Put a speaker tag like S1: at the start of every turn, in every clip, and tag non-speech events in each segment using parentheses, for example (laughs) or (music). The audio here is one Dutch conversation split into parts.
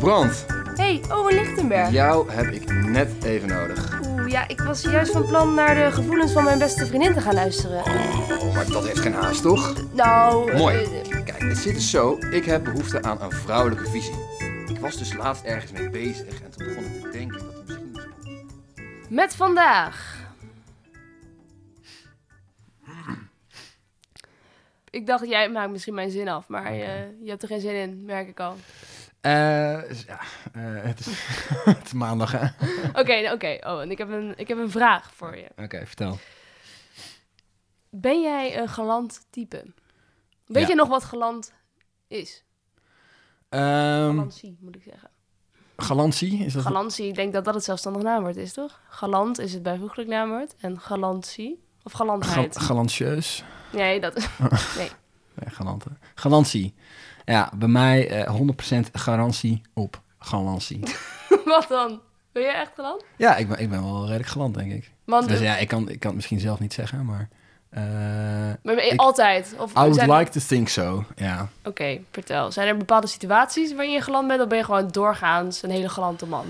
S1: Brand,
S2: hey, Owen Lichtenberg.
S1: jou heb ik net even nodig.
S2: Oeh, ja, ik was juist van plan naar de gevoelens van mijn beste vriendin te gaan luisteren.
S1: Oh, maar dat heeft geen haast, toch?
S2: Nou... eh,
S1: Mooi.
S2: eh,
S1: Kijk, het zit dus zo. Ik heb behoefte aan een vrouwelijke visie. Ik was dus laatst ergens mee bezig en toen begon ik te denken dat het misschien...
S2: met vandaag. Ik dacht, jij maakt misschien mijn zin af, maar eh, je hebt er geen zin in, merk ik al.
S3: Eh, is- ja, eh, het, is, (laughs) het is maandag, hè? Oké,
S2: Oké, nou, oké, Owen, ik heb, een, ik heb een vraag voor je.
S3: vertel.
S2: Ben jij een galant type? Weet
S3: Ja.
S2: je nog wat galant is?
S3: Ehm
S2: Galantie, moet ik zeggen.
S3: galantie, is dat...
S2: Galantie, ik denk dat dat het zelfstandig naamwoord is, toch? Galant is het bijvoeglijk naamwoord. En galantie, of
S3: Gal-
S2: galantheid.
S3: galantieus.
S2: nee, dat
S3: Nee, galante. Galantie. Ja, bij mij eh 100% garantie op galantie.
S2: (laughs) Wat dan? Ben jij echt galant?
S3: ja, ik ben, ik ben wel redelijk galant, denk ik.
S2: Want
S3: Dus ja, ik kan, ik kan het misschien zelf niet zeggen, maar... eh,
S2: maar,
S3: ik-
S2: altijd. Of
S3: I would
S2: zijn-
S3: like to think so, ja.
S2: Oké, vertel. Zijn er bepaalde situaties waarin je galant bent, of ben je gewoon doorgaans een hele galante man?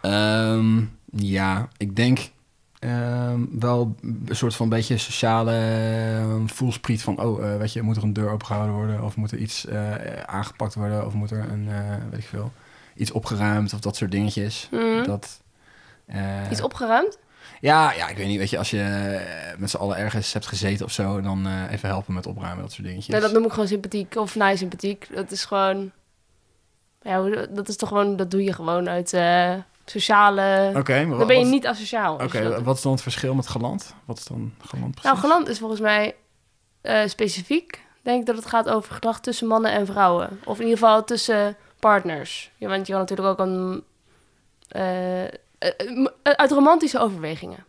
S3: Ehm, ja, ik denk ehm, wel een soort van beetje sociale ehm, voelspriet van... oh, eh, weet je, moet er een deur opengehouden worden... of moet er iets eh, aangepakt worden... of moet er een, eh, weet ik veel, iets opgeruimd of dat soort dingetjes. Dat, eh,
S2: Mhm. Iets opgeruimd?
S3: ja, ja, ik weet niet, weet je, als je eh, met z'n allen ergens hebt gezeten of zo... dan eh, even helpen met opruimen, dat soort dingetjes.
S2: Nee, Nou, dat noem ik gewoon sympathiek of naai sympathiek. Dat is gewoon. Ja, hoe- dat is toch gewoon. Dat doe je gewoon uit eh, sociale.
S3: Oké, maar
S2: dan ben je
S3: wat-
S2: niet asociaal. als
S3: Oh, Oké,
S2: je dat doet.
S3: wat is dan het verschil met galant? Wat is dan galant precies?
S2: Nou, galant is volgens mij eh, specifiek. Denk ik dat het gaat over gedrag tussen mannen en vrouwen. Of in ieder geval tussen partners. Ja, want je kan natuurlijk ook een. eh, eh, m- uit romantische overwegingen.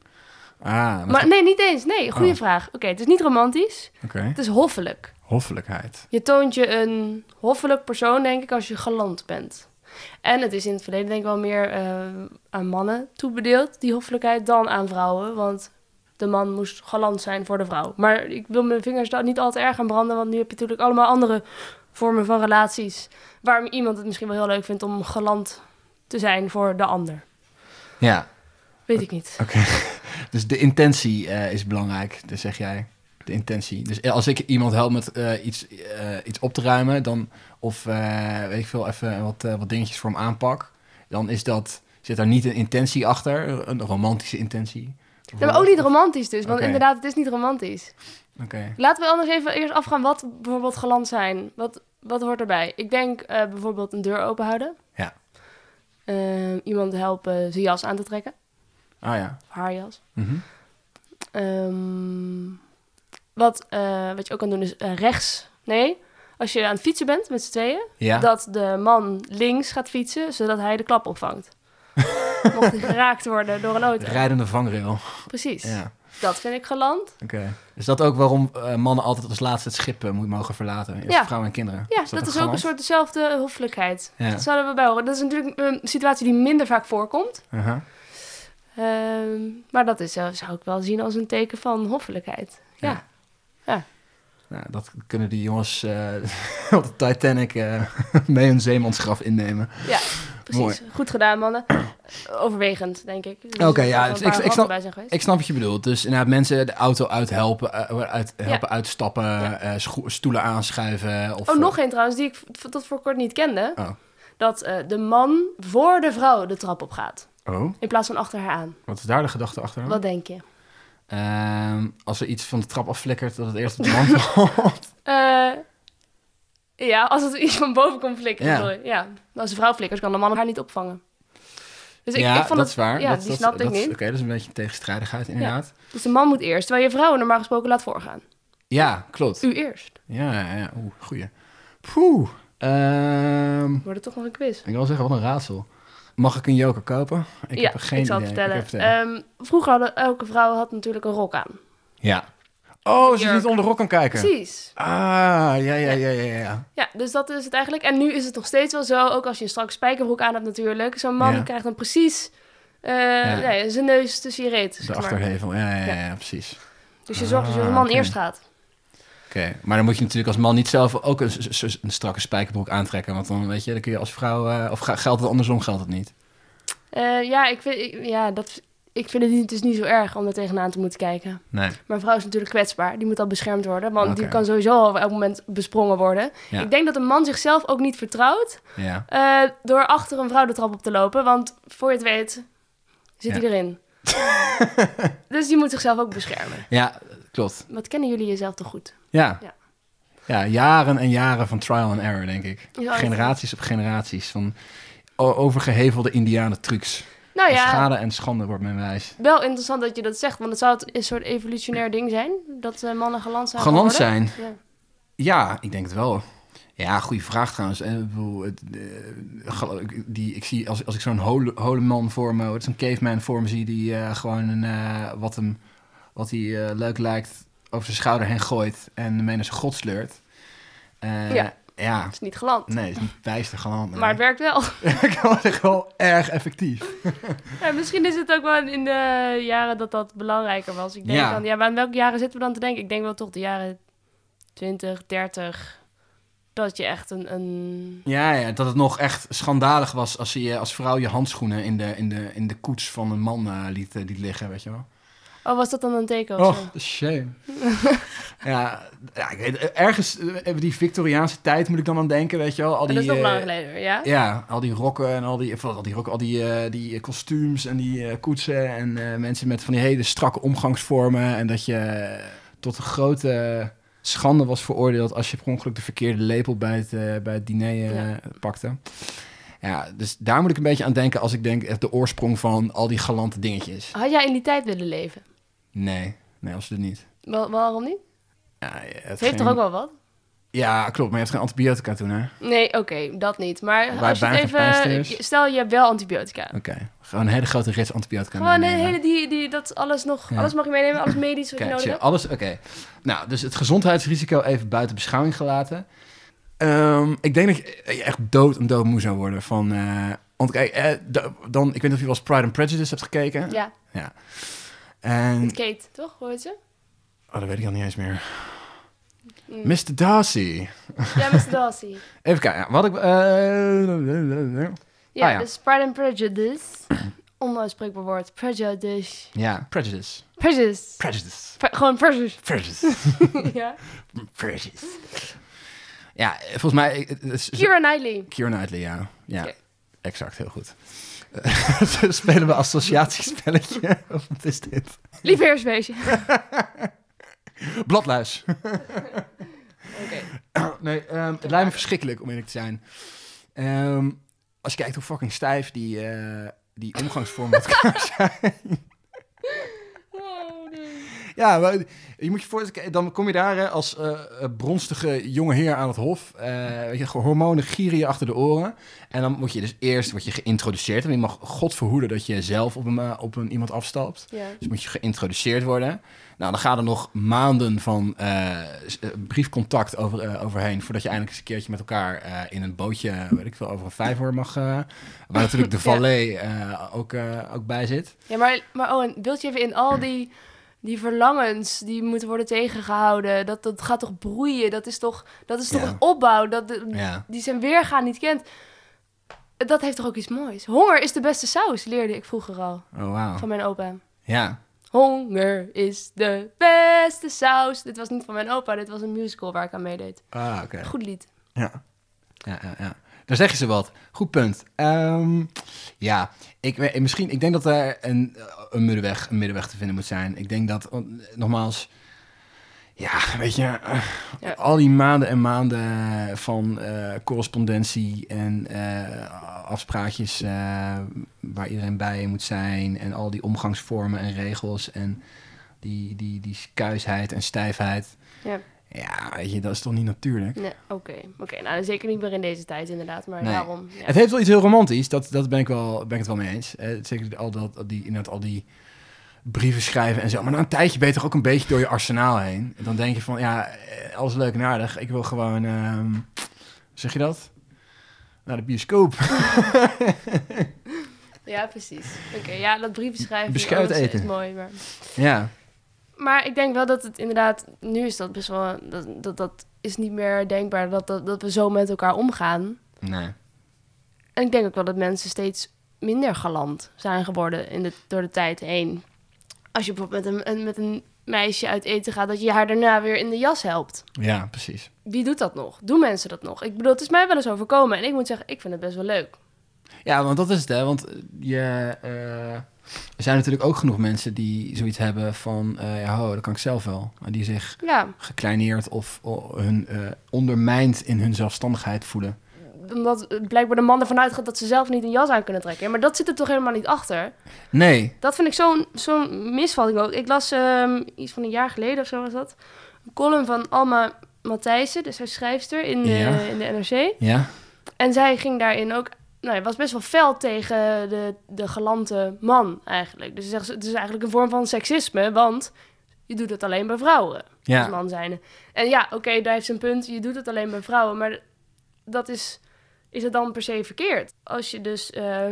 S3: Ah, dat-
S2: Maar nee, niet eens. Nee, goede
S3: Oh.
S2: vraag. Oké, het is niet romantisch.
S3: oké.
S2: Het is hoffelijk.
S3: Hoffelijkheid.
S2: Je toont je een hoffelijk persoon, denk ik, als je galant bent. En het is in het verleden denk ik wel meer eh, aan mannen toebedeeld, die hoffelijkheid, dan aan vrouwen. Want de man moest galant zijn voor de vrouw. Maar ik wil mijn vingers daar niet al te erg aan branden, want nu heb je natuurlijk allemaal andere vormen van relaties. Waar iemand het misschien wel heel leuk vindt om galant te zijn voor de ander.
S3: Ja,
S2: Weet ik niet.
S3: Oké. (laughs) dus de intentie eh, is belangrijk, dus zeg jij. De intentie. Dus als ik iemand help met eh, iets, eh, iets op te ruimen, dan, of eh, weet ik veel, even wat, eh, wat dingetjes voor hem aanpak, dan is dat, zit daar niet een intentie achter, een romantische intentie.
S2: Ja, maar ook niet romantisch dus, want
S3: Oké.
S2: inderdaad, het is niet romantisch.
S3: Oké.
S2: Laten we anders even eerst afgaan wat bijvoorbeeld galant zijn. Wat, wat hoort erbij? Ik denk eh, bijvoorbeeld een deur open houden.
S3: Ja.
S2: Eh, iemand helpen zijn jas aan te trekken.
S3: Ah ja.
S2: Of haar jas.
S3: Mhm.
S2: Ehm, wat, eh, wat je ook kan doen is eh, rechts. Nee, als je aan het fietsen bent met z'n tweeën.
S3: Ja.
S2: Dat de man links gaat fietsen, zodat hij de klap opvangt. Mocht hij geraakt worden door een auto.
S3: Rijdende vangrail.
S2: Precies.
S3: Ja.
S2: Dat vind ik galant.
S3: Oké. Is dat ook waarom eh, mannen altijd als laatste het schip eh, moet mogen verlaten? Eerst
S2: Ja.
S3: vrouwen en kinderen.
S2: Ja, dat, is ook een
S3: galant?
S2: soort dezelfde hoffelijkheid.
S3: Ja.
S2: Dat zouden we bij horen. Dat is natuurlijk een situatie die minder vaak voorkomt.
S3: Aha.
S2: Ehm, maar dat is, eh, zou ik wel zien als een teken van hoffelijkheid. Ja.
S3: Ja. Nou, dat kunnen die jongens eh, (laughs) op de Titanic eh, (laughs) mee hun zeemansgraf innemen.
S2: Precies. Goed gedaan, mannen. Overwegend, denk ik. Dus
S3: Oké,
S2: er zullen
S3: ja,
S2: wel
S3: dus
S2: een paar
S3: ik- ik
S2: grappen
S3: snap-
S2: bij zijn geweest.
S3: Ik snap wat je bedoelt. Dus inderdaad, mensen de auto uithelpen, eh, uit, helpen uitstappen,
S2: Ja.
S3: eh, scho- stoelen aanschuiven. Of,
S2: Oh, nog één trouwens, die ik v- tot voor kort niet kende.
S3: Oh.
S2: Dat eh, de man voor de vrouw de trap op gaat.
S3: Oh,
S2: In plaats van achter haar aan.
S3: wat is daar de gedachte achter?
S2: Wat denk je?
S3: Ehm, als er iets van de trap afflikkert, dat het eerst op de
S2: (laughs)
S3: man valt.
S2: Eh, ja, als het (laughs) iets van boven komt flikkeren.
S3: Ja.
S2: sorry. Ja. Als de vrouw flikkert, kan de man haar niet opvangen. Dus ik,
S3: ja,
S2: ik vond
S3: dat
S2: het-
S3: is waar.
S2: Ja,
S3: dat,
S2: die
S3: dat-
S2: snapte
S3: dat
S2: ik
S3: is-
S2: niet.
S3: Oké, dat is een beetje een tegenstrijdigheid inderdaad. Ja,
S2: Dus de man moet eerst, terwijl je vrouwen normaal gesproken laat voorgaan.
S3: klopt.
S2: U eerst.
S3: Ja, ja, ja. Oeh, goeie. Poeh. Ehm,
S2: Wordt het toch nog een quiz?
S3: Ik wil zeggen, wat een raadsel. Mag ik een joker kopen? Ik
S2: ja,
S3: heb er geen
S2: ik zal het
S3: idee.
S2: vertellen.
S3: Ik heb het- eh,
S2: Ehm, vroeger hadden elke vrouw had natuurlijk een rok aan.
S3: ja. Oh, ze is
S2: jurk.
S3: niet onder de rok kan kijken.
S2: Precies.
S3: Ah, ja, ja, ja, ja, ja.
S2: Ja, dus dat is het eigenlijk. En nu is het nog steeds wel zo, ook als je een strak spijkerbroek aan hebt natuurlijk. Zo'n man
S3: Ja.
S2: krijgt dan precies eh, nee, zijn neus tussen je reet. zeg
S3: De
S2: maar.
S3: achterhevel, ja, ja, ja, ja, precies.
S2: Dus je zorgt dat je
S3: Ah,
S2: de man
S3: oké.
S2: eerst gaat.
S3: maar dan moet je natuurlijk als man niet zelf ook een, s- s- een strakke spijkerbroek aantrekken. Want dan weet je, dan kun je als vrouw. eh, of ga- geldt het andersom, geldt het niet.
S2: Eh, ja, ik vind, ik- ja dat, ik vind het niet, dus niet zo erg om er tegenaan te moeten kijken.
S3: Nee.
S2: Maar een vrouw is natuurlijk kwetsbaar. Die moet al beschermd worden. Want die
S3: Oké.
S2: kan sowieso al op elk moment besprongen worden.
S3: Ja.
S2: Ik denk dat een man zichzelf ook niet vertrouwt
S3: Ja.
S2: eh, door achter een vrouw de trap op te lopen. Want voor je het weet zit
S3: Ja. (laughs)
S2: hij erin. dus die moet zichzelf ook beschermen.
S3: ja, klopt.
S2: Wat kennen jullie jezelf toch goed?
S3: Ja.
S2: Ja.
S3: ja. jaren en jaren van trial and error, denk ik.
S2: Ja,
S3: generaties op generaties van o- overgehevelde indianen trucs.
S2: Nou
S3: Van
S2: ja,
S3: Schade en schande wordt men wijs.
S2: wel interessant dat je dat zegt. Want het zou een soort evolutionair ding zijn. Dat eh, mannen galant zijn.
S3: Galant zijn.
S2: Ja.
S3: Ja, ik denk het wel. Ja, goede vraag trouwens. Eh, Ik, bedoel, het, eh, gal- ik- die, ik zie als, als ik zo'n hole, holeman voor me, zo'n caveman voor me zie, die eh, gewoon een, eh, wat hem wat hij eh, leuk lijkt over zijn schouder heen gooit en mee naar zijn god sleurt. Eh,
S2: Ja.
S3: ja.
S2: Dat is niet galant.
S3: Nee, het is niet bijster galant. nee.
S2: Maar het werkt wel.
S3: (laughs) ik was echt wel erg effectief.
S2: Ja, misschien is het ook wel in de jaren dat dat belangrijker was. Ik denk
S3: Ja.
S2: dan, ja, maar in welke jaren zitten we dan te denken? Ik denk wel toch de jaren 20, 30. Dat je echt een. een...
S3: Ja, ja, dat het nog echt schandalig was als je eh, als vrouw je handschoenen in de, in de, in de koets van een man eh, liet, eh, liet liggen, weet je wel.
S2: Oh, was dat dan een teken? of
S3: Och,
S2: zo?
S3: shame. (laughs) ja, ja, ik weet, ergens eh, hebben die Victoriaanse tijd moet ik dan aan denken, weet je wel. Al die,
S2: Maar dat is nog
S3: eh,
S2: lang geleden, ja?
S3: Ja, al die rokken en al die, vooral al die rokken, al die, eh, die kostuums en die eh, koetsen en eh, mensen met van die hele strakke omgangsvormen. En dat je eh, tot een grote schande was veroordeeld als je per ongeluk de verkeerde lepel bij het, eh, bij het diner eh,
S2: Ja.
S3: pakte. Ja, dus daar moet ik een beetje aan denken als ik denk echt de oorsprong van al die galante dingetjes.
S2: Had jij in die tijd willen leven?
S3: Nee, nee, absoluut niet.
S2: Wa- waarom niet?
S3: Ja, het
S2: Het heeft
S3: ging-
S2: toch ook wel wat?
S3: Ja, klopt, maar je hebt geen antibiotica toen, hè? Oké,
S2: Nee, oké, dat niet. Maar
S3: Waar
S2: als je
S3: weinig
S2: het even.
S3: pijnstillers.
S2: ik- Stel je hebt wel antibiotica.
S3: gewoon een hele grote rits antibiotica.
S2: Gewoon de
S3: meenemen.
S2: hele die, die dat alles nog.
S3: Ja.
S2: Alles mag je meenemen, alles medisch wat
S3: Oké,
S2: je nodig
S3: chill.
S2: hebt.
S3: alles, oké. Nou, dus het gezondheidsrisico even buiten beschouwing gelaten. Ehm, ik denk dat je echt dood en dood moe zou worden van... eh, want kijk, eh, da- dan, ik weet niet of je wel eens Pride and Prejudice hebt gekeken.
S2: Ja,
S3: En,
S2: met Kate, toch? Hoort ze?
S3: oh, dat weet ik al niet eens meer.
S2: Mm.
S3: Mr. Darcy.
S2: Ja, Mr. Darcy.
S3: Even kijken, wat ik... eh,
S2: Ja,
S3: Ah, ja.
S2: dus Pride and Prejudice. (clears throat) Onuitspreekbaar woord. Prejudice.
S3: ja, Prejudice.
S2: Prejudice.
S3: Prejudice.
S2: Pre- gewoon prejudice. (laughs)
S3: Prejudice.
S2: ja.
S3: Prejudice. Ja, eh, volgens mij... eh, het is-
S2: Kira Knightley.
S3: Keira Knightley, ja. Ja,
S2: Oké.
S3: exact, heel goed. Eh, (laughs) Spelen we associatiespelletje? (laughs) Of wat is dit?
S2: Lief heersbeestje.
S3: (laughs)
S2: Oké.
S3: Bladluis. (laughs) nee, ehm, het lijkt me verschrikkelijk om eerlijk te zijn. Ehm, als je kijkt hoe fucking stijf die, eh, die omgangsvorm met elkaar zijn.
S2: Oh, nee.
S3: Ja, maar je moet je voorstellen, dan kom je daar hè, als eh, eh, bronstige jonge heer aan het hof. Eh, weet je, gewoon hormonen gieren je achter de oren. En dan moet je dus eerst word je geïntroduceerd. En je mag God verhoeden dat je zelf op een, eh, op een iemand afstapt.
S2: Ja.
S3: Dus moet je geïntroduceerd worden. Nou, dan gaan er nog maanden van eh, s- eh, briefcontact over, eh, overheen... voordat je eindelijk eens een keertje met elkaar eh, in een bootje... weet ik veel, over een vijver mag... eh, waar natuurlijk de valet eh, ook, eh, ook bij zit.
S2: ja, maar, maar Owen, wilt je even in al die, die verlangens die moeten worden tegengehouden, dat, dat gaat toch broeien? Dat is toch, dat is toch
S3: Ja.
S2: een opbouw dat de-
S3: Ja.
S2: die zijn weergaan niet kent? Dat heeft toch ook iets moois? Honger is de beste saus, leerde ik vroeger al
S3: Oh, wauw.
S2: van mijn opa.
S3: Ja.
S2: Honger is de beste saus. Dit was niet van mijn opa, dit was een musical waar ik aan meedeed.
S3: Ah, oké.
S2: Goed lied.
S3: Ja. Ja, ja, ja. Daar zeggen ze wat. Goed punt. Ehm, ja, ik, weet- misschien, ik denk dat er een, eh, een, middenweg, een middenweg te vinden moet zijn. Ik denk dat, want, eh, nogmaals, ja, weet je, eh,
S2: Ja.
S3: al die maanden en maanden van eh, correspondentie en eh, afspraakjes eh, waar iedereen bij moet zijn en al die omgangsvormen en regels en die, die, die kuisheid en stijfheid.
S2: Ja,
S3: Ja, weet je, dat is toch niet natuurlijk?
S2: nee, oké. Oké, nou zeker niet meer in deze tijd inderdaad, maar
S3: Nee.
S2: daarom. Ja.
S3: Het heeft wel iets heel romantisch, dat, dat ben, ik wel, ben ik het wel mee eens. Eh, zeker al, dat, die, inderdaad al die brieven schrijven en zo. Maar na een tijdje ben je toch ook een beetje door je arsenaal heen. Dan denk je van, ja, eh, alles leuk en aardig. Ik wil gewoon, ehm, zeg je dat? Naar de bioscoop. (laughs)
S2: ja, precies. Oké, ja, dat oh, briefje schrijven.
S3: Beschuit
S2: alles
S3: eten.
S2: is mooi, maar...
S3: ja.
S2: maar ik denk wel dat het inderdaad, nu is dat best wel, dat, dat, dat is niet meer denkbaar dat, dat, dat we zo met elkaar omgaan.
S3: Nee.
S2: En ik denk ook wel dat mensen steeds minder galant zijn geworden in de, door de tijd heen. Als je bijvoorbeeld met een, een- met een meisje uit eten gaat, dat je haar daarna weer in de jas helpt.
S3: Ja, precies.
S2: Wie doet dat nog? Doen mensen dat nog? Ik bedoel, het is mij wel eens overkomen. En ik moet zeggen, ik vind het best wel leuk.
S3: Ja, want dat is het, hè. Want eh, je, eh, er zijn natuurlijk ook genoeg mensen die zoiets hebben van... eh, ja, ho, dat kan ik zelf wel. Maar die zich
S2: Ja,
S3: gekleineerd of o- hun eh, ondermijnd in hun zelfstandigheid voelen.
S2: omdat eh, blijkbaar de man ervan uitgaat dat ze zelf niet een jas aan kunnen trekken. Maar dat zit er toch helemaal niet achter?
S3: Nee.
S2: Dat vind ik zo'n zo'n misvatting ook. Ik las ehm, iets van een jaar geleden of zo was dat. Een column van Alma Matthijssen, dus haar schrijfster in de,
S3: Ja.
S2: in de NRC.
S3: Ja?
S2: En zij ging daarin ook... Nou, hij was best wel fel tegen de, de galante man eigenlijk. Dus ze zegt, het is eigenlijk een vorm van seksisme, want je doet het alleen bij vrouwen. Als
S3: Ja.
S2: man zijnde. En ja, oké, daar heeft ze een punt. Je doet het alleen bij vrouwen, maar dat is... Is het dan per se verkeerd? Als je dus eh,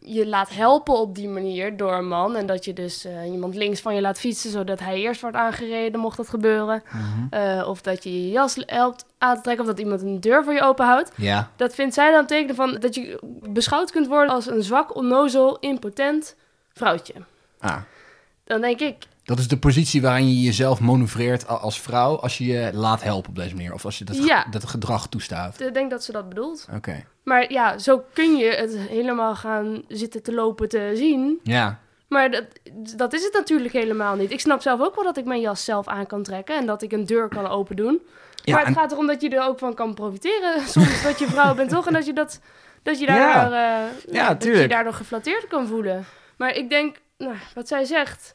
S2: je laat helpen op die manier door een man... en dat je dus eh, iemand links van je laat fietsen... zodat hij eerst wordt aangereden, mocht dat gebeuren...
S3: Mhm.
S2: eh, of dat je je jas helpt aan te trekken... of dat iemand een deur voor je openhoudt...
S3: Ja.
S2: Dat vindt zij dan tekenen van dat je beschouwd kunt worden als een zwak, onnozel, impotent vrouwtje.
S3: Ah.
S2: Dan denk ik,
S3: Dat is de positie waarin je jezelf manoeuvreert a- als vrouw als je je laat helpen op deze manier. Of als je dat, ge-
S2: Ja.
S3: dat gedrag toestaat.
S2: ik denk dat ze dat bedoelt.
S3: Oké.
S2: Maar ja, zo kun je het helemaal gaan zitten te lopen te zien.
S3: Ja.
S2: Maar dat, dat is het natuurlijk helemaal niet. Ik snap zelf ook wel dat ik mijn jas zelf aan kan trekken en dat ik een deur kan open doen.
S3: Ja,
S2: maar het
S3: en-
S2: gaat erom dat je er ook van kan profiteren. (laughs) Soms dat je vrouw bent toch en dat je dat, dat je
S3: Ja.
S2: daardoor, eh,
S3: Ja,
S2: dat je
S3: tuurlijk.
S2: daardoor geflatteerd kan voelen. Maar ik denk, nou, wat zij zegt,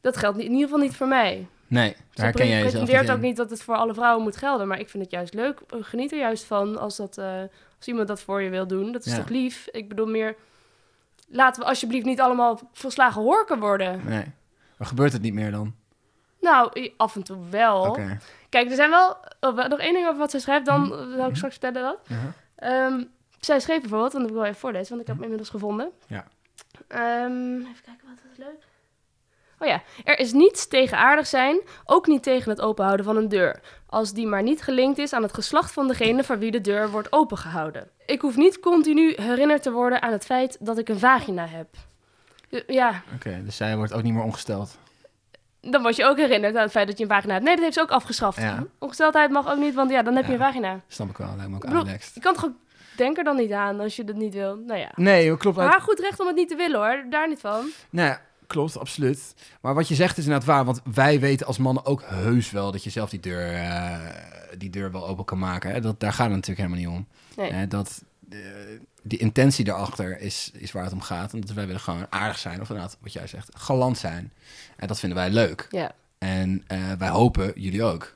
S2: dat geldt niet, in ieder geval niet voor mij.
S3: Nee,
S2: Ze
S3: daar herken jij jezelf
S2: pretendeert
S3: niet in.
S2: ook niet dat het voor alle vrouwen moet gelden, maar ik vind het juist leuk. Ik Geniet er juist van als, dat, eh, als iemand dat voor je wil doen. Dat is
S3: Ja.
S2: toch lief? Ik bedoel meer, laten we alsjeblieft niet allemaal volslagen horken worden.
S3: Nee. Maar gebeurt het niet meer dan?
S2: Nou, i- af en toe wel.
S3: Oké.
S2: Kijk, er zijn wel... oh, wel- nog één ding over wat zij schrijft, dan eh,
S3: Mhm.
S2: zal ik straks vertellen dat.
S3: Ja.
S2: Ehm, zij schreef bijvoorbeeld, en dat wil ik wel even voorlezen, want ik heb hem inmiddels gevonden.
S3: Mhm. Ja.
S2: Ehm, even kijken, wat is leuk. Oh ja, er is niets tegen aardig zijn, ook niet tegen het openhouden van een deur. Als die maar niet gelinkt is aan het geslacht van degene voor wie de deur wordt opengehouden. Ik hoef niet continu herinnerd te worden aan het feit dat ik een vagina heb. Ja,
S3: Oké, dus zij wordt ook niet meer omgesteld.
S2: dan word je ook herinnerd aan het feit dat je een vagina hebt. Nee, dat heeft ze ook afgeschaft.
S3: Ja.
S2: Ongesteldheid mag ook niet, want ja, dan heb je
S3: Ja.
S2: een vagina.
S3: Snap ik wel, lijkt me ook
S2: Ik bedoel-
S3: aanlekt.
S2: Je kan toch ook... Denk er dan niet aan als je dat niet wil. Nou ja.
S3: Nee, dat klopt.
S2: Haar goed recht om het niet te willen hoor, daar niet van.
S3: Nee, klopt, absoluut. Maar wat je zegt is inderdaad waar, want wij weten als mannen ook heus wel dat je zelf die deur, eh, die deur wel open kan maken. Hè? Dat, daar gaat het natuurlijk helemaal niet om.
S2: Nee.
S3: Hè, dat, eh, die intentie daarachter is, is waar het om gaat. En dat wij willen gewoon aardig zijn, of inderdaad, wat jij zegt, galant zijn. En dat vinden wij leuk.
S2: Ja.
S3: En eh, wij hopen jullie ook.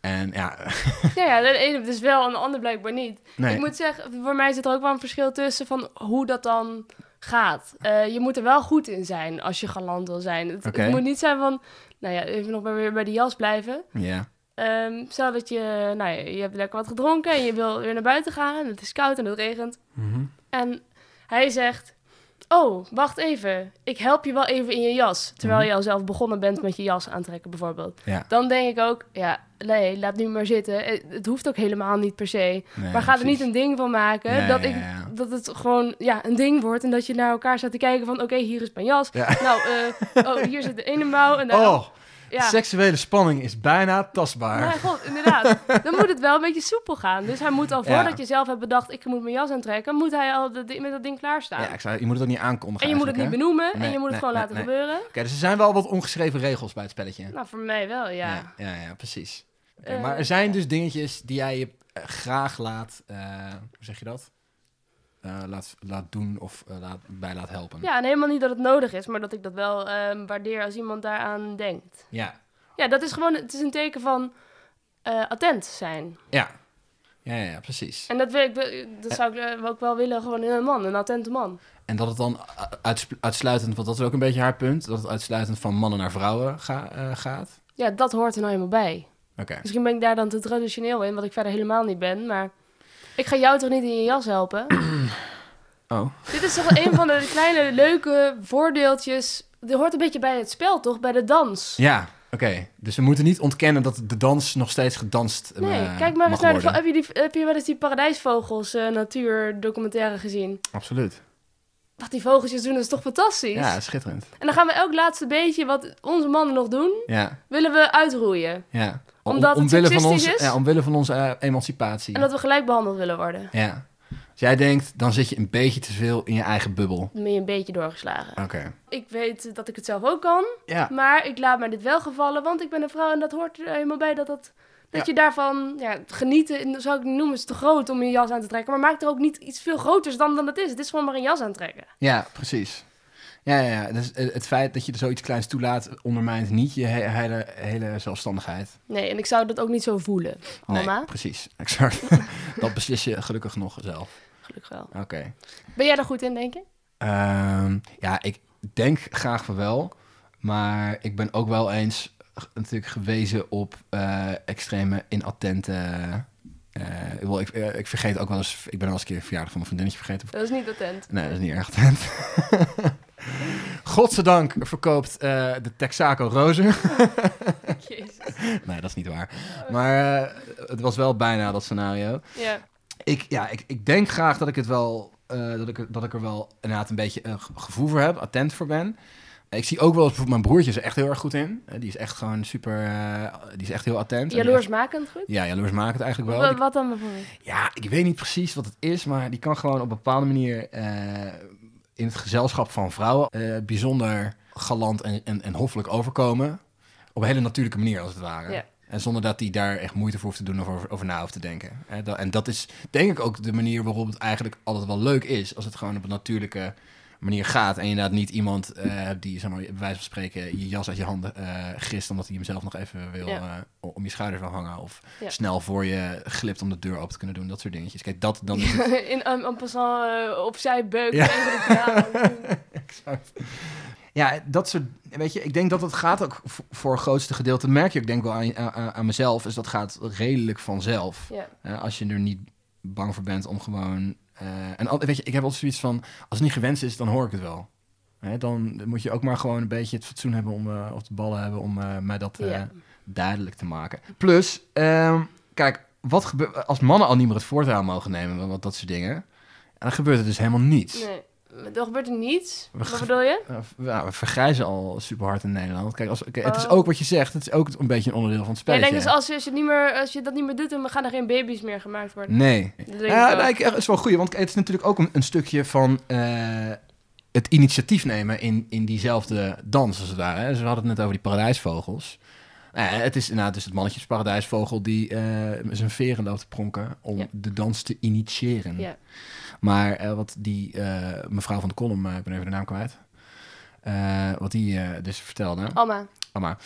S3: En ja, (laughs)
S2: ja, ja, de ene dus wel en de ander blijkbaar niet.
S3: nee.
S2: Ik moet zeggen, voor mij zit er ook wel een verschil tussen van hoe dat dan gaat. Eh, je moet er wel goed in zijn als je galant wil zijn. Het, het
S3: Oké.
S2: moet niet zijn van, nou ja, even nog maar weer bij de jas blijven.
S3: Ja,
S2: Ehm, stel dat je, nou ja, je hebt lekker wat gedronken en je wil weer naar buiten gaan en het is koud en het regent.
S3: Mhm.
S2: En hij zegt, oh, wacht even, ik help je wel even in je jas. Terwijl je al zelf begonnen bent met je jas aantrekken bijvoorbeeld.
S3: Mhm. ja.
S2: Dan denk ik ook, ja, nee, laat nu maar zitten. Eh, Het hoeft ook helemaal niet per se.
S3: Nee,
S2: maar ga er
S3: precies.
S2: niet een ding van maken
S3: Ja,
S2: dat,
S3: ja,
S2: ik,
S3: ja, ja.
S2: dat het gewoon ja, een ding wordt... en dat je naar elkaar staat te kijken van, oké, hier is mijn jas.
S3: Ja.
S2: Nou, eh, oh, hier zit de ene mouw en daar...
S3: Oh,
S2: ja.
S3: seksuele spanning is bijna tastbaar.
S2: Nou, god, inderdaad. Dan moet het wel een beetje soepel gaan. Dus hij moet al
S3: Ja.
S2: voordat je zelf hebt bedacht, ik moet mijn jas aantrekken... moet hij al de- met dat ding klaarstaan.
S3: Ja, ik zou, je moet het ook niet aankondigen.
S2: en je moet het niet
S3: eigenlijk, hè?
S2: benoemen en
S3: Nee,
S2: je moet het
S3: nee,
S2: gewoon laten
S3: nee, nee.
S2: gebeuren.
S3: Oké, dus er zijn wel wat ongeschreven regels bij het spelletje.
S2: Nou, voor mij wel, ja.
S3: ja, ja, ja, precies. Oké,
S2: Eh,
S3: maar er zijn dus dingetjes die jij je eh, graag laat, eh, hoe zeg je dat? Eh, laat, laat doen of eh, laat, bij laat helpen.
S2: Ja, en helemaal niet dat het nodig is, maar dat ik dat wel ehm, waardeer als iemand daaraan denkt.
S3: Ja,
S2: Ja, dat is gewoon, het is een teken van eh, attent zijn.
S3: ja, ja, ja, ja, precies.
S2: En dat, wil ik, dat zou ik eh, ook wel willen, gewoon in een man, een attente man.
S3: En dat het dan eh, uitsp- uitsluitend, want dat is ook een beetje haar punt, dat het uitsluitend van mannen naar vrouwen ga- eh, gaat.
S2: Ja, dat hoort er nou helemaal bij.
S3: Oké.
S2: Misschien ben ik daar dan te traditioneel in, wat ik verder helemaal niet ben, maar ik ga jou toch niet in je jas
S3: (coughs)
S2: helpen?
S3: Oh.
S2: Dit is toch een van de kleine leuke voordeeltjes. Dit hoort een beetje bij het spel, toch? Bij de dans.
S3: Ja, dus we moeten niet ontkennen dat de dans nog steeds gedanst eh,
S2: Nee, kijk maar
S3: mag
S2: eens naar de...
S3: worden.
S2: Heb je, die, heb je wel eens die paradijsvogels eh natuurdocumentaire gezien?
S3: Absoluut.
S2: Wat die vogeltjes doen, dat is toch fantastisch?
S3: Ja, schitterend.
S2: En dan gaan we elk laatste beetje wat onze mannen nog doen,
S3: Ja,
S2: willen we uitroeien.
S3: ja.
S2: Omdat het
S3: omwille van
S2: seksistisch
S3: ons,
S2: is?
S3: Ja, omwille van onze eh, emancipatie.
S2: En dat we gelijk behandeld willen worden.
S3: Ja. Als jij denkt, dan zit je een beetje te veel in je eigen bubbel.
S2: Dan ben je een beetje doorgeslagen.
S3: Oké.
S2: Ik weet dat ik het zelf ook kan,
S3: Ja.
S2: maar ik laat mij dit wel gevallen, want ik ben een vrouw en dat hoort er helemaal bij dat dat... Dat
S3: Ja.
S2: je daarvan ja, genieten, dat zou ik niet noemen, is te groot om je jas aan te trekken. Maar maak er ook niet iets veel groters dan, dan het is. Het is gewoon maar een jas aantrekken.
S3: ja, precies. Ja, ja, ja. Dus eh, het feit dat je er zoiets kleins toelaat, ondermijnt niet je he- hele, hele zelfstandigheid.
S2: Nee, en ik zou dat ook niet zo voelen, Alma.
S3: Nee, precies. Exact. (laughs) dat beslis je gelukkig nog zelf.
S2: Gelukkig wel.
S3: Oké.
S2: Ben jij daar goed in, denk je?
S3: Ehm, ja, ik denk graag van wel. Maar ik ben ook wel eens g- natuurlijk gewezen op eh, extreme inattente... eh, ik, wil- ik, eh, ik vergeet ook wel eens... Ik ben al eens een keer de verjaardag van mijn vriendinnetje vergeten.
S2: Dat is niet attent.
S3: Nee, dat is niet erg (laughs) attent. Godzijdank verkoopt eh, de Texaco rozen.
S2: (laughs)
S3: (laughs)
S2: Jezus.
S3: nee, dat is niet waar. Maar eh, het was wel bijna dat scenario.
S2: Ja.
S3: Ik, ja, ik, ik denk graag dat ik het wel. eh, dat, ik, er- dat ik er wel inderdaad een beetje een ge- gevoel voor heb, attent voor ben. Ik zie ook wel eens bijvoorbeeld mijn broertje is er echt heel erg goed in. Eh, die is echt gewoon super. eh, die is echt heel attent. En die
S2: Jaloersmakend goed?
S3: heeft- Ja, jaloersmakend eigenlijk wel.
S2: Wa- Wat dan bijvoorbeeld?
S3: Die- ja, ik weet niet precies wat het is, maar die kan gewoon op een bepaalde manier. eh, in het gezelschap van vrouwen eh, bijzonder galant en, en, en hoffelijk overkomen. Op een hele natuurlijke manier, als het ware.
S2: Ja.
S3: En zonder dat hij daar echt moeite voor hoeft te doen of over, over na hoeft te denken. Hè, dat- En dat is denk ik ook de manier waarop het eigenlijk altijd wel leuk is. Als het gewoon op een natuurlijke manier gaat. En je inderdaad niet iemand eh, hebt die, zeg maar, bij wijze van spreken, je jas uit je handen eh gist. Omdat hij hem zelf nog even wil,
S2: Ja.
S3: eh, om je schouders wil hangen. Of
S2: Ja.
S3: snel voor je glipt om de deur open te kunnen doen. Dat soort dingetjes. Kijk, dat dan is het
S2: (laughs) in um, en passant eh, opzij beuken.
S3: Ja.
S2: tegen de
S3: (laughs)
S2: kraan.
S3: Exact. Ja, dat soort. Weet je, ik denk dat dat gaat ook v- voor het grootste gedeelte. Dat merk je ook, denk ik wel aan, aan, aan mezelf. Dus dat gaat redelijk vanzelf.
S2: ja.
S3: Eh, als je er niet bang voor bent om gewoon. eh, en al, weet je, ik heb altijd zoiets van. Als het niet gewenst is, dan hoor ik het wel. Hè, dan moet je ook maar gewoon een beetje het fatsoen hebben om. eh, of de ballen hebben om eh, mij dat eh,
S2: Ja.
S3: duidelijk te maken. Plus, ehm, kijk, wat gebeurt. Als mannen al niet meer het voortouw mogen nemen, want dat soort dingen. Dan gebeurt er dus helemaal niets.
S2: Nee. Er gebeurt er niets.
S3: We
S2: Wat
S3: gaan-
S2: bedoel je?
S3: Nou, v- ja, we vergrijzen al super hard in Nederland. Kijk, als, kijk, het is
S2: Oh.
S3: ook wat je zegt. Het is ook een beetje een onderdeel van het
S2: Nee, ik
S3: spelletje.
S2: denk dus als je, als, je het niet meer, als je dat niet meer doet, dan gaan er geen baby's meer gemaakt worden.
S3: Nee.
S2: Dat denk ik
S3: Ja,
S2: ook.
S3: nee, ik- dat is wel goed. Want het is natuurlijk ook een, een stukje van eh, het initiatief nemen in, in diezelfde dans als het ware. hè. Dus we hadden het net over die paradijsvogels. Nou ja, het is inderdaad dus het mannetjesparadijsvogel die eh, met zijn veren loopt te pronken om
S2: Ja.
S3: de dans te initiëren.
S2: Ja.
S3: Maar eh, wat die eh, mevrouw van de column, eh, ik ben even de naam kwijt, eh, wat die eh, dus vertelde.
S2: Alma.
S3: Amma.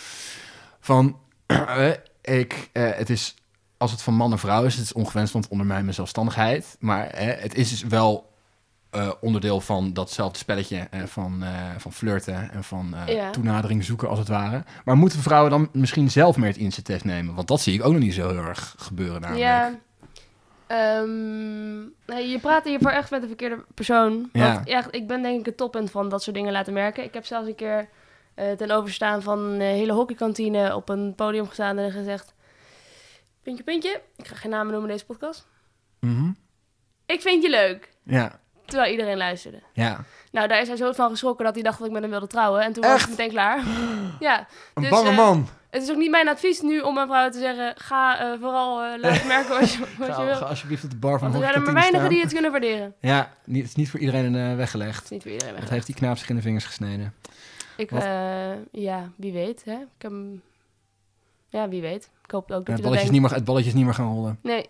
S3: Van, (clears throat) eh, ik, eh, het is, als het van man en vrouw is, het is ongewenst, want het ondermijnt mijn zelfstandigheid. Maar eh, het is dus wel eh, onderdeel van datzelfde spelletje eh, van, eh, van flirten en van eh,
S2: Ja.
S3: toenadering zoeken, als het ware. Maar moeten vrouwen dan misschien zelf meer het initiatief nemen? Want dat zie ik ook nog niet zo heel erg gebeuren namelijk.
S2: Ja. Ehm, nee, je praat hiervoor echt met de verkeerde persoon.
S3: Ja.
S2: Want echt, ik ben denk ik het toppunt van dat soort dingen laten merken. Ik heb zelfs een keer eh, ten overstaan van een hele hockeykantine op een podium gestaan en gezegd... Puntje, puntje. Ik ga geen namen noemen in deze podcast.
S3: Mhm.
S2: Ik vind je leuk.
S3: ja.
S2: Terwijl iedereen luisterde.
S3: ja.
S2: Nou, daar is hij zo van geschrokken dat hij dacht dat ik met hem wilde trouwen. En toen was
S3: Echt?
S2: het meteen klaar. (gasps) ja.
S3: Een
S2: Dus,
S3: bange
S2: eh,
S3: man.
S2: Het is ook niet mijn advies nu om aan vrouwen te zeggen... Ga eh, vooral eh,
S3: (laughs)
S2: laten merken wat je, wat je
S3: Ga,
S2: wil.
S3: ga alsjeblieft op de bar van
S2: Want er
S3: de
S2: zijn er maar
S3: hockeykantine
S2: weinigen die
S3: staan.
S2: het kunnen waarderen.
S3: Ja, niet, het is niet voor iedereen eh,
S2: Het
S3: weggelegd.
S2: is niet voor iedereen
S3: Dat
S2: weg.
S3: heeft die knaap zich in de vingers gesneden.
S2: Ik,
S3: Wat?
S2: eh, ja, wie weet, hè? Ik heb... hem- Ja, wie weet. Ik hoop
S3: het,
S2: ook dat je dat
S3: balletje is
S2: denkt.
S3: niet meer, het balletje is niet meer gaan rollen.
S2: Nee,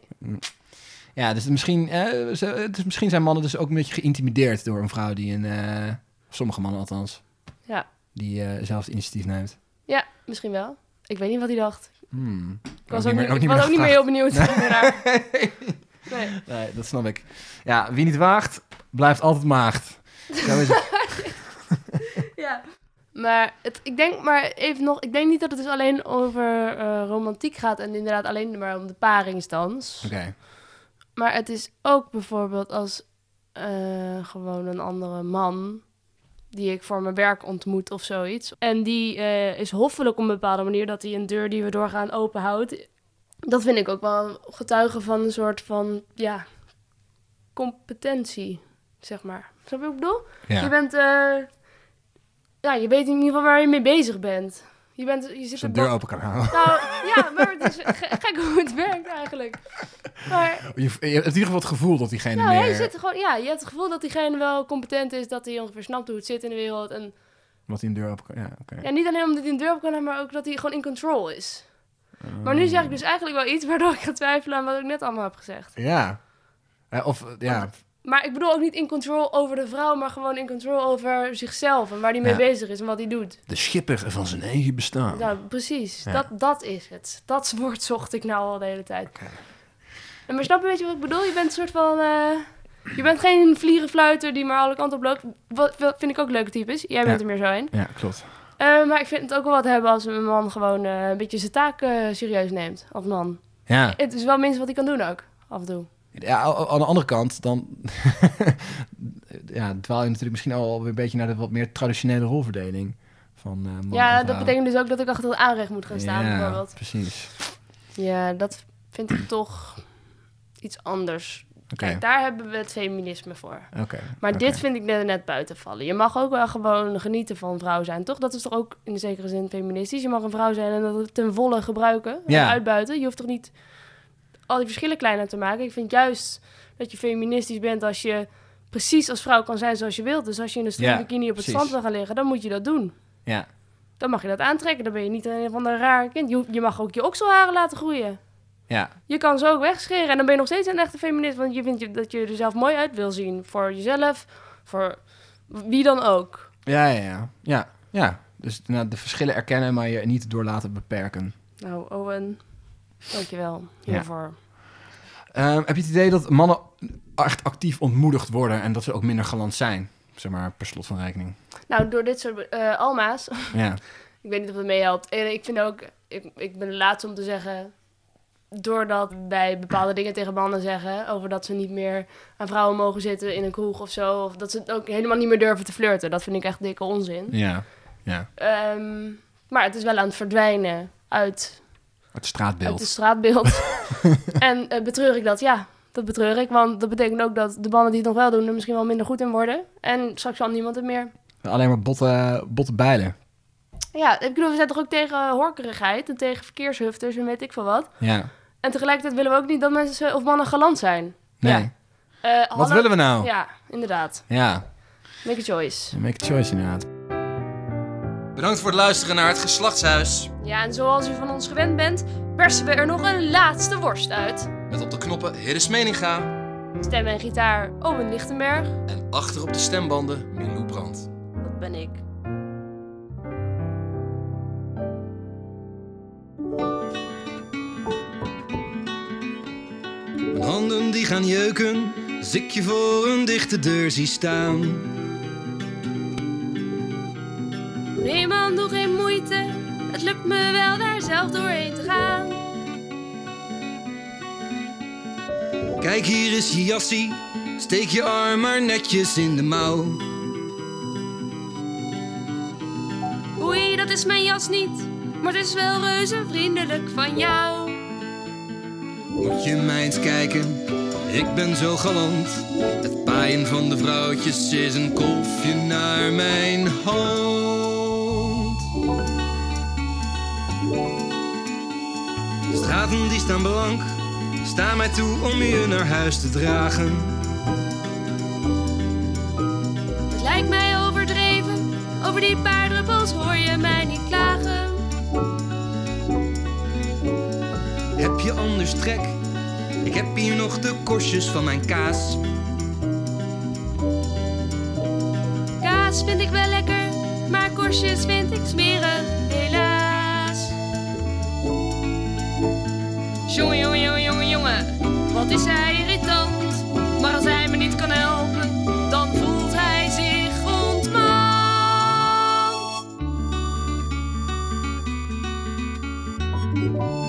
S3: Ja, dus misschien, eh, ze- het is- misschien zijn mannen dus ook een beetje geïntimideerd door een vrouw die een... eh, sommige mannen althans.
S2: Ja.
S3: Die eh, zelf het initiatief neemt.
S2: ja, misschien wel. Ik weet niet wat hij dacht.
S3: Hmm.
S2: Ik was ook, niet, ik was ook niet meer heel benieuwd. naar- (laughs) Nee.
S3: (laughs) Nee, dat snap ik. Ja, wie niet waagt, blijft altijd maagd. Zo is
S2: (laughs)
S3: het.
S2: Ja. Maar het, ik denk maar even nog... Ik denk niet dat het dus alleen over eh, romantiek gaat... en inderdaad alleen maar om de paringsdans.
S3: Oké.
S2: Maar het is ook bijvoorbeeld als eh, gewoon een andere man die ik voor mijn werk ontmoet of zoiets. En die eh, is hoffelijk op een bepaalde manier dat hij een deur die we doorgaan open houdt. Dat vind ik ook wel een getuige van een soort van, ja, competentie, zeg maar. Snap je wat ik bedoel? Je
S3: Ja.
S2: bent, eh, ja, je weet in ieder geval waar je mee bezig bent. Je bent, je zit
S3: Als je
S2: een
S3: de deur
S2: ba-
S3: open kan houden. (laughs)
S2: Nou, ja, maar het is ge- gek hoe het werkt eigenlijk. Maar
S3: Je, je hebt in ieder geval het gevoel dat diegene
S2: nou,
S3: meer...
S2: je, zit er gewoon, ja, je hebt het gevoel dat diegene wel competent is, dat hij ongeveer snapt hoe het zit in de wereld. En
S3: Wat in de deur open kan... Ja, oké.
S2: ja, niet alleen omdat hij een deur op kan hebben, maar ook dat hij gewoon in control is. Maar
S3: Hmm.
S2: nu zeg ik dus eigenlijk wel iets waardoor ik ga twijfelen aan wat ik net allemaal heb gezegd.
S3: Ja. Eh, Of, eh, ja.
S2: Maar ik bedoel ook niet in control over de vrouw, maar gewoon in control over zichzelf en waar hij mee
S3: Ja.
S2: bezig is en wat hij doet.
S3: De schipper van zijn eigen bestaan.
S2: Nou, precies.
S3: Ja.
S2: Dat, dat is het. Dat woord zocht ik nou al de hele tijd.
S3: Oké.
S2: En maar snap je, weet je wat ik bedoel? Je bent een soort van... eh, je bent geen vlierenfluiter die maar alle kanten op loopt. Wat, wat vind ik ook leuke types. Jij bent
S3: Ja.
S2: er meer zo een.
S3: Ja, klopt.
S2: Eh, maar ik vind het ook wel wat hebben als een man gewoon eh, een beetje zijn taak eh, serieus neemt. Als man.
S3: Ja.
S2: Het is wel minstens wat hij kan doen ook. Af en toe.
S3: ja, a- a- aan de andere kant, dan (laughs) ja, dwaal je natuurlijk misschien al weer een beetje naar de wat meer traditionele rolverdeling van eh, man en
S2: ja, dat
S3: vrouw.
S2: betekent dus ook dat ik achter het aanrecht moet gaan staan
S3: Ja,
S2: bijvoorbeeld.
S3: precies.
S2: Ja, dat vind ik toch iets anders.
S3: Oké,
S2: Kijk, daar hebben we het feminisme voor.
S3: oké.
S2: Maar
S3: oké.
S2: dit vind ik net, net buiten vallen. Je mag ook wel gewoon genieten van vrouw zijn, toch? Dat is toch ook in zekere zin feministisch? Je mag een vrouw zijn en dat ten volle gebruiken en
S3: Ja.
S2: uitbuiten. Je hoeft toch niet al die verschillen kleiner te maken? Ik vind juist dat je feministisch bent als je precies als vrouw kan zijn zoals je wilt. Dus als je in een
S3: Ja,
S2: stropbikini op het
S3: precies.
S2: strand wil gaan liggen, dan moet je dat doen.
S3: Ja,
S2: Dan mag je dat aantrekken. Dan ben je niet een van de raar kind. Je, hoeft- je mag ook je okselharen laten groeien.
S3: ja,
S2: Je kan ze ook wegscheren en dan ben je nog steeds een echte feminist. Want je vindt je- dat je er zelf mooi uit wil zien. Voor jezelf, voor wie dan ook.
S3: ja, ja, ja. ja, ja. Dus nou, de verschillen erkennen, maar je niet door laten beperken.
S2: Nou, Owen, dankjewel
S3: Ja.
S2: hiervoor.
S3: Ehm, heb je het idee dat mannen echt actief ontmoedigd worden en dat ze ook minder galant zijn? Zeg maar, per slot van rekening.
S2: Nou, door dit soort eh, alma's, (laughs)
S3: Ja,
S2: ik weet niet of het meehelpt. En ik vind ook, ik, ik ben de laatste om te zeggen... doordat wij bepaalde dingen tegen mannen zeggen... over dat ze niet meer aan vrouwen mogen zitten in een kroeg of zo... of dat ze het ook helemaal niet meer durven te flirten. Dat vind ik echt dikke onzin.
S3: ja, ja.
S2: Ehm, maar het is wel aan het verdwijnen uit
S3: Het straatbeeld.
S2: Uit het straatbeeld. (laughs) en eh, betreur ik dat? Ja, dat betreur ik. Want dat betekent ook dat de mannen die het nog wel doen... er misschien wel minder goed in worden. En straks zal niemand het meer.
S3: Alleen maar botte, botte bijlen.
S2: Ja, ik bedoel, we zijn toch ook tegen horkerigheid... en tegen verkeershufters en weet ik veel wat.
S3: Ja.
S2: En tegelijkertijd willen we ook niet dat mensen of mannen galant zijn.
S3: Nee.
S2: Ja. Eh,
S3: Wat willen we nou?
S2: Ja, inderdaad.
S3: Ja.
S2: Make a choice.
S3: Make a choice inderdaad.
S1: Bedankt voor het luisteren naar het Geslachtshuis.
S2: Ja, en zoals u van ons gewend bent... persen we er nog een laatste worst uit.
S1: Met op de knoppen Hiddes Meninga
S2: Stem en gitaar Owen Lichtenberg.
S1: en achter op de stembanden Milou Brandt.
S2: Dat ben ik.
S1: Mijn handen die gaan jeuken, als ik je voor een dichte deur zie staan.
S2: Nee man, doe geen moeite. Het lukt me wel daar zelf doorheen te gaan.
S1: Kijk, hier is je jassie. Steek je arm maar netjes in de mouw.
S2: Oei, dat is mijn jas niet. Maar het is wel reuze vriendelijk van jou.
S1: Moet je mij eens kijken, ik ben zo galant. Het paaien van de vrouwtjes is een kolfje naar mijn hand. De straten die staan blank, sta mij toe om je naar huis te dragen.
S2: Het lijkt mij overdreven. Over die paar druppels hoor je mij niet klagen.
S1: Heb je anders trek? Ik heb hier nog de korstjes van mijn kaas.
S2: Kaas vind ik wel lekker, maar korstjes vind ik smerig, helaas. Jongen, jongen, jongen, jongen, jongen, wat is hij irritant. Maar als hij me niet kan helpen, dan voelt hij zich ontmand.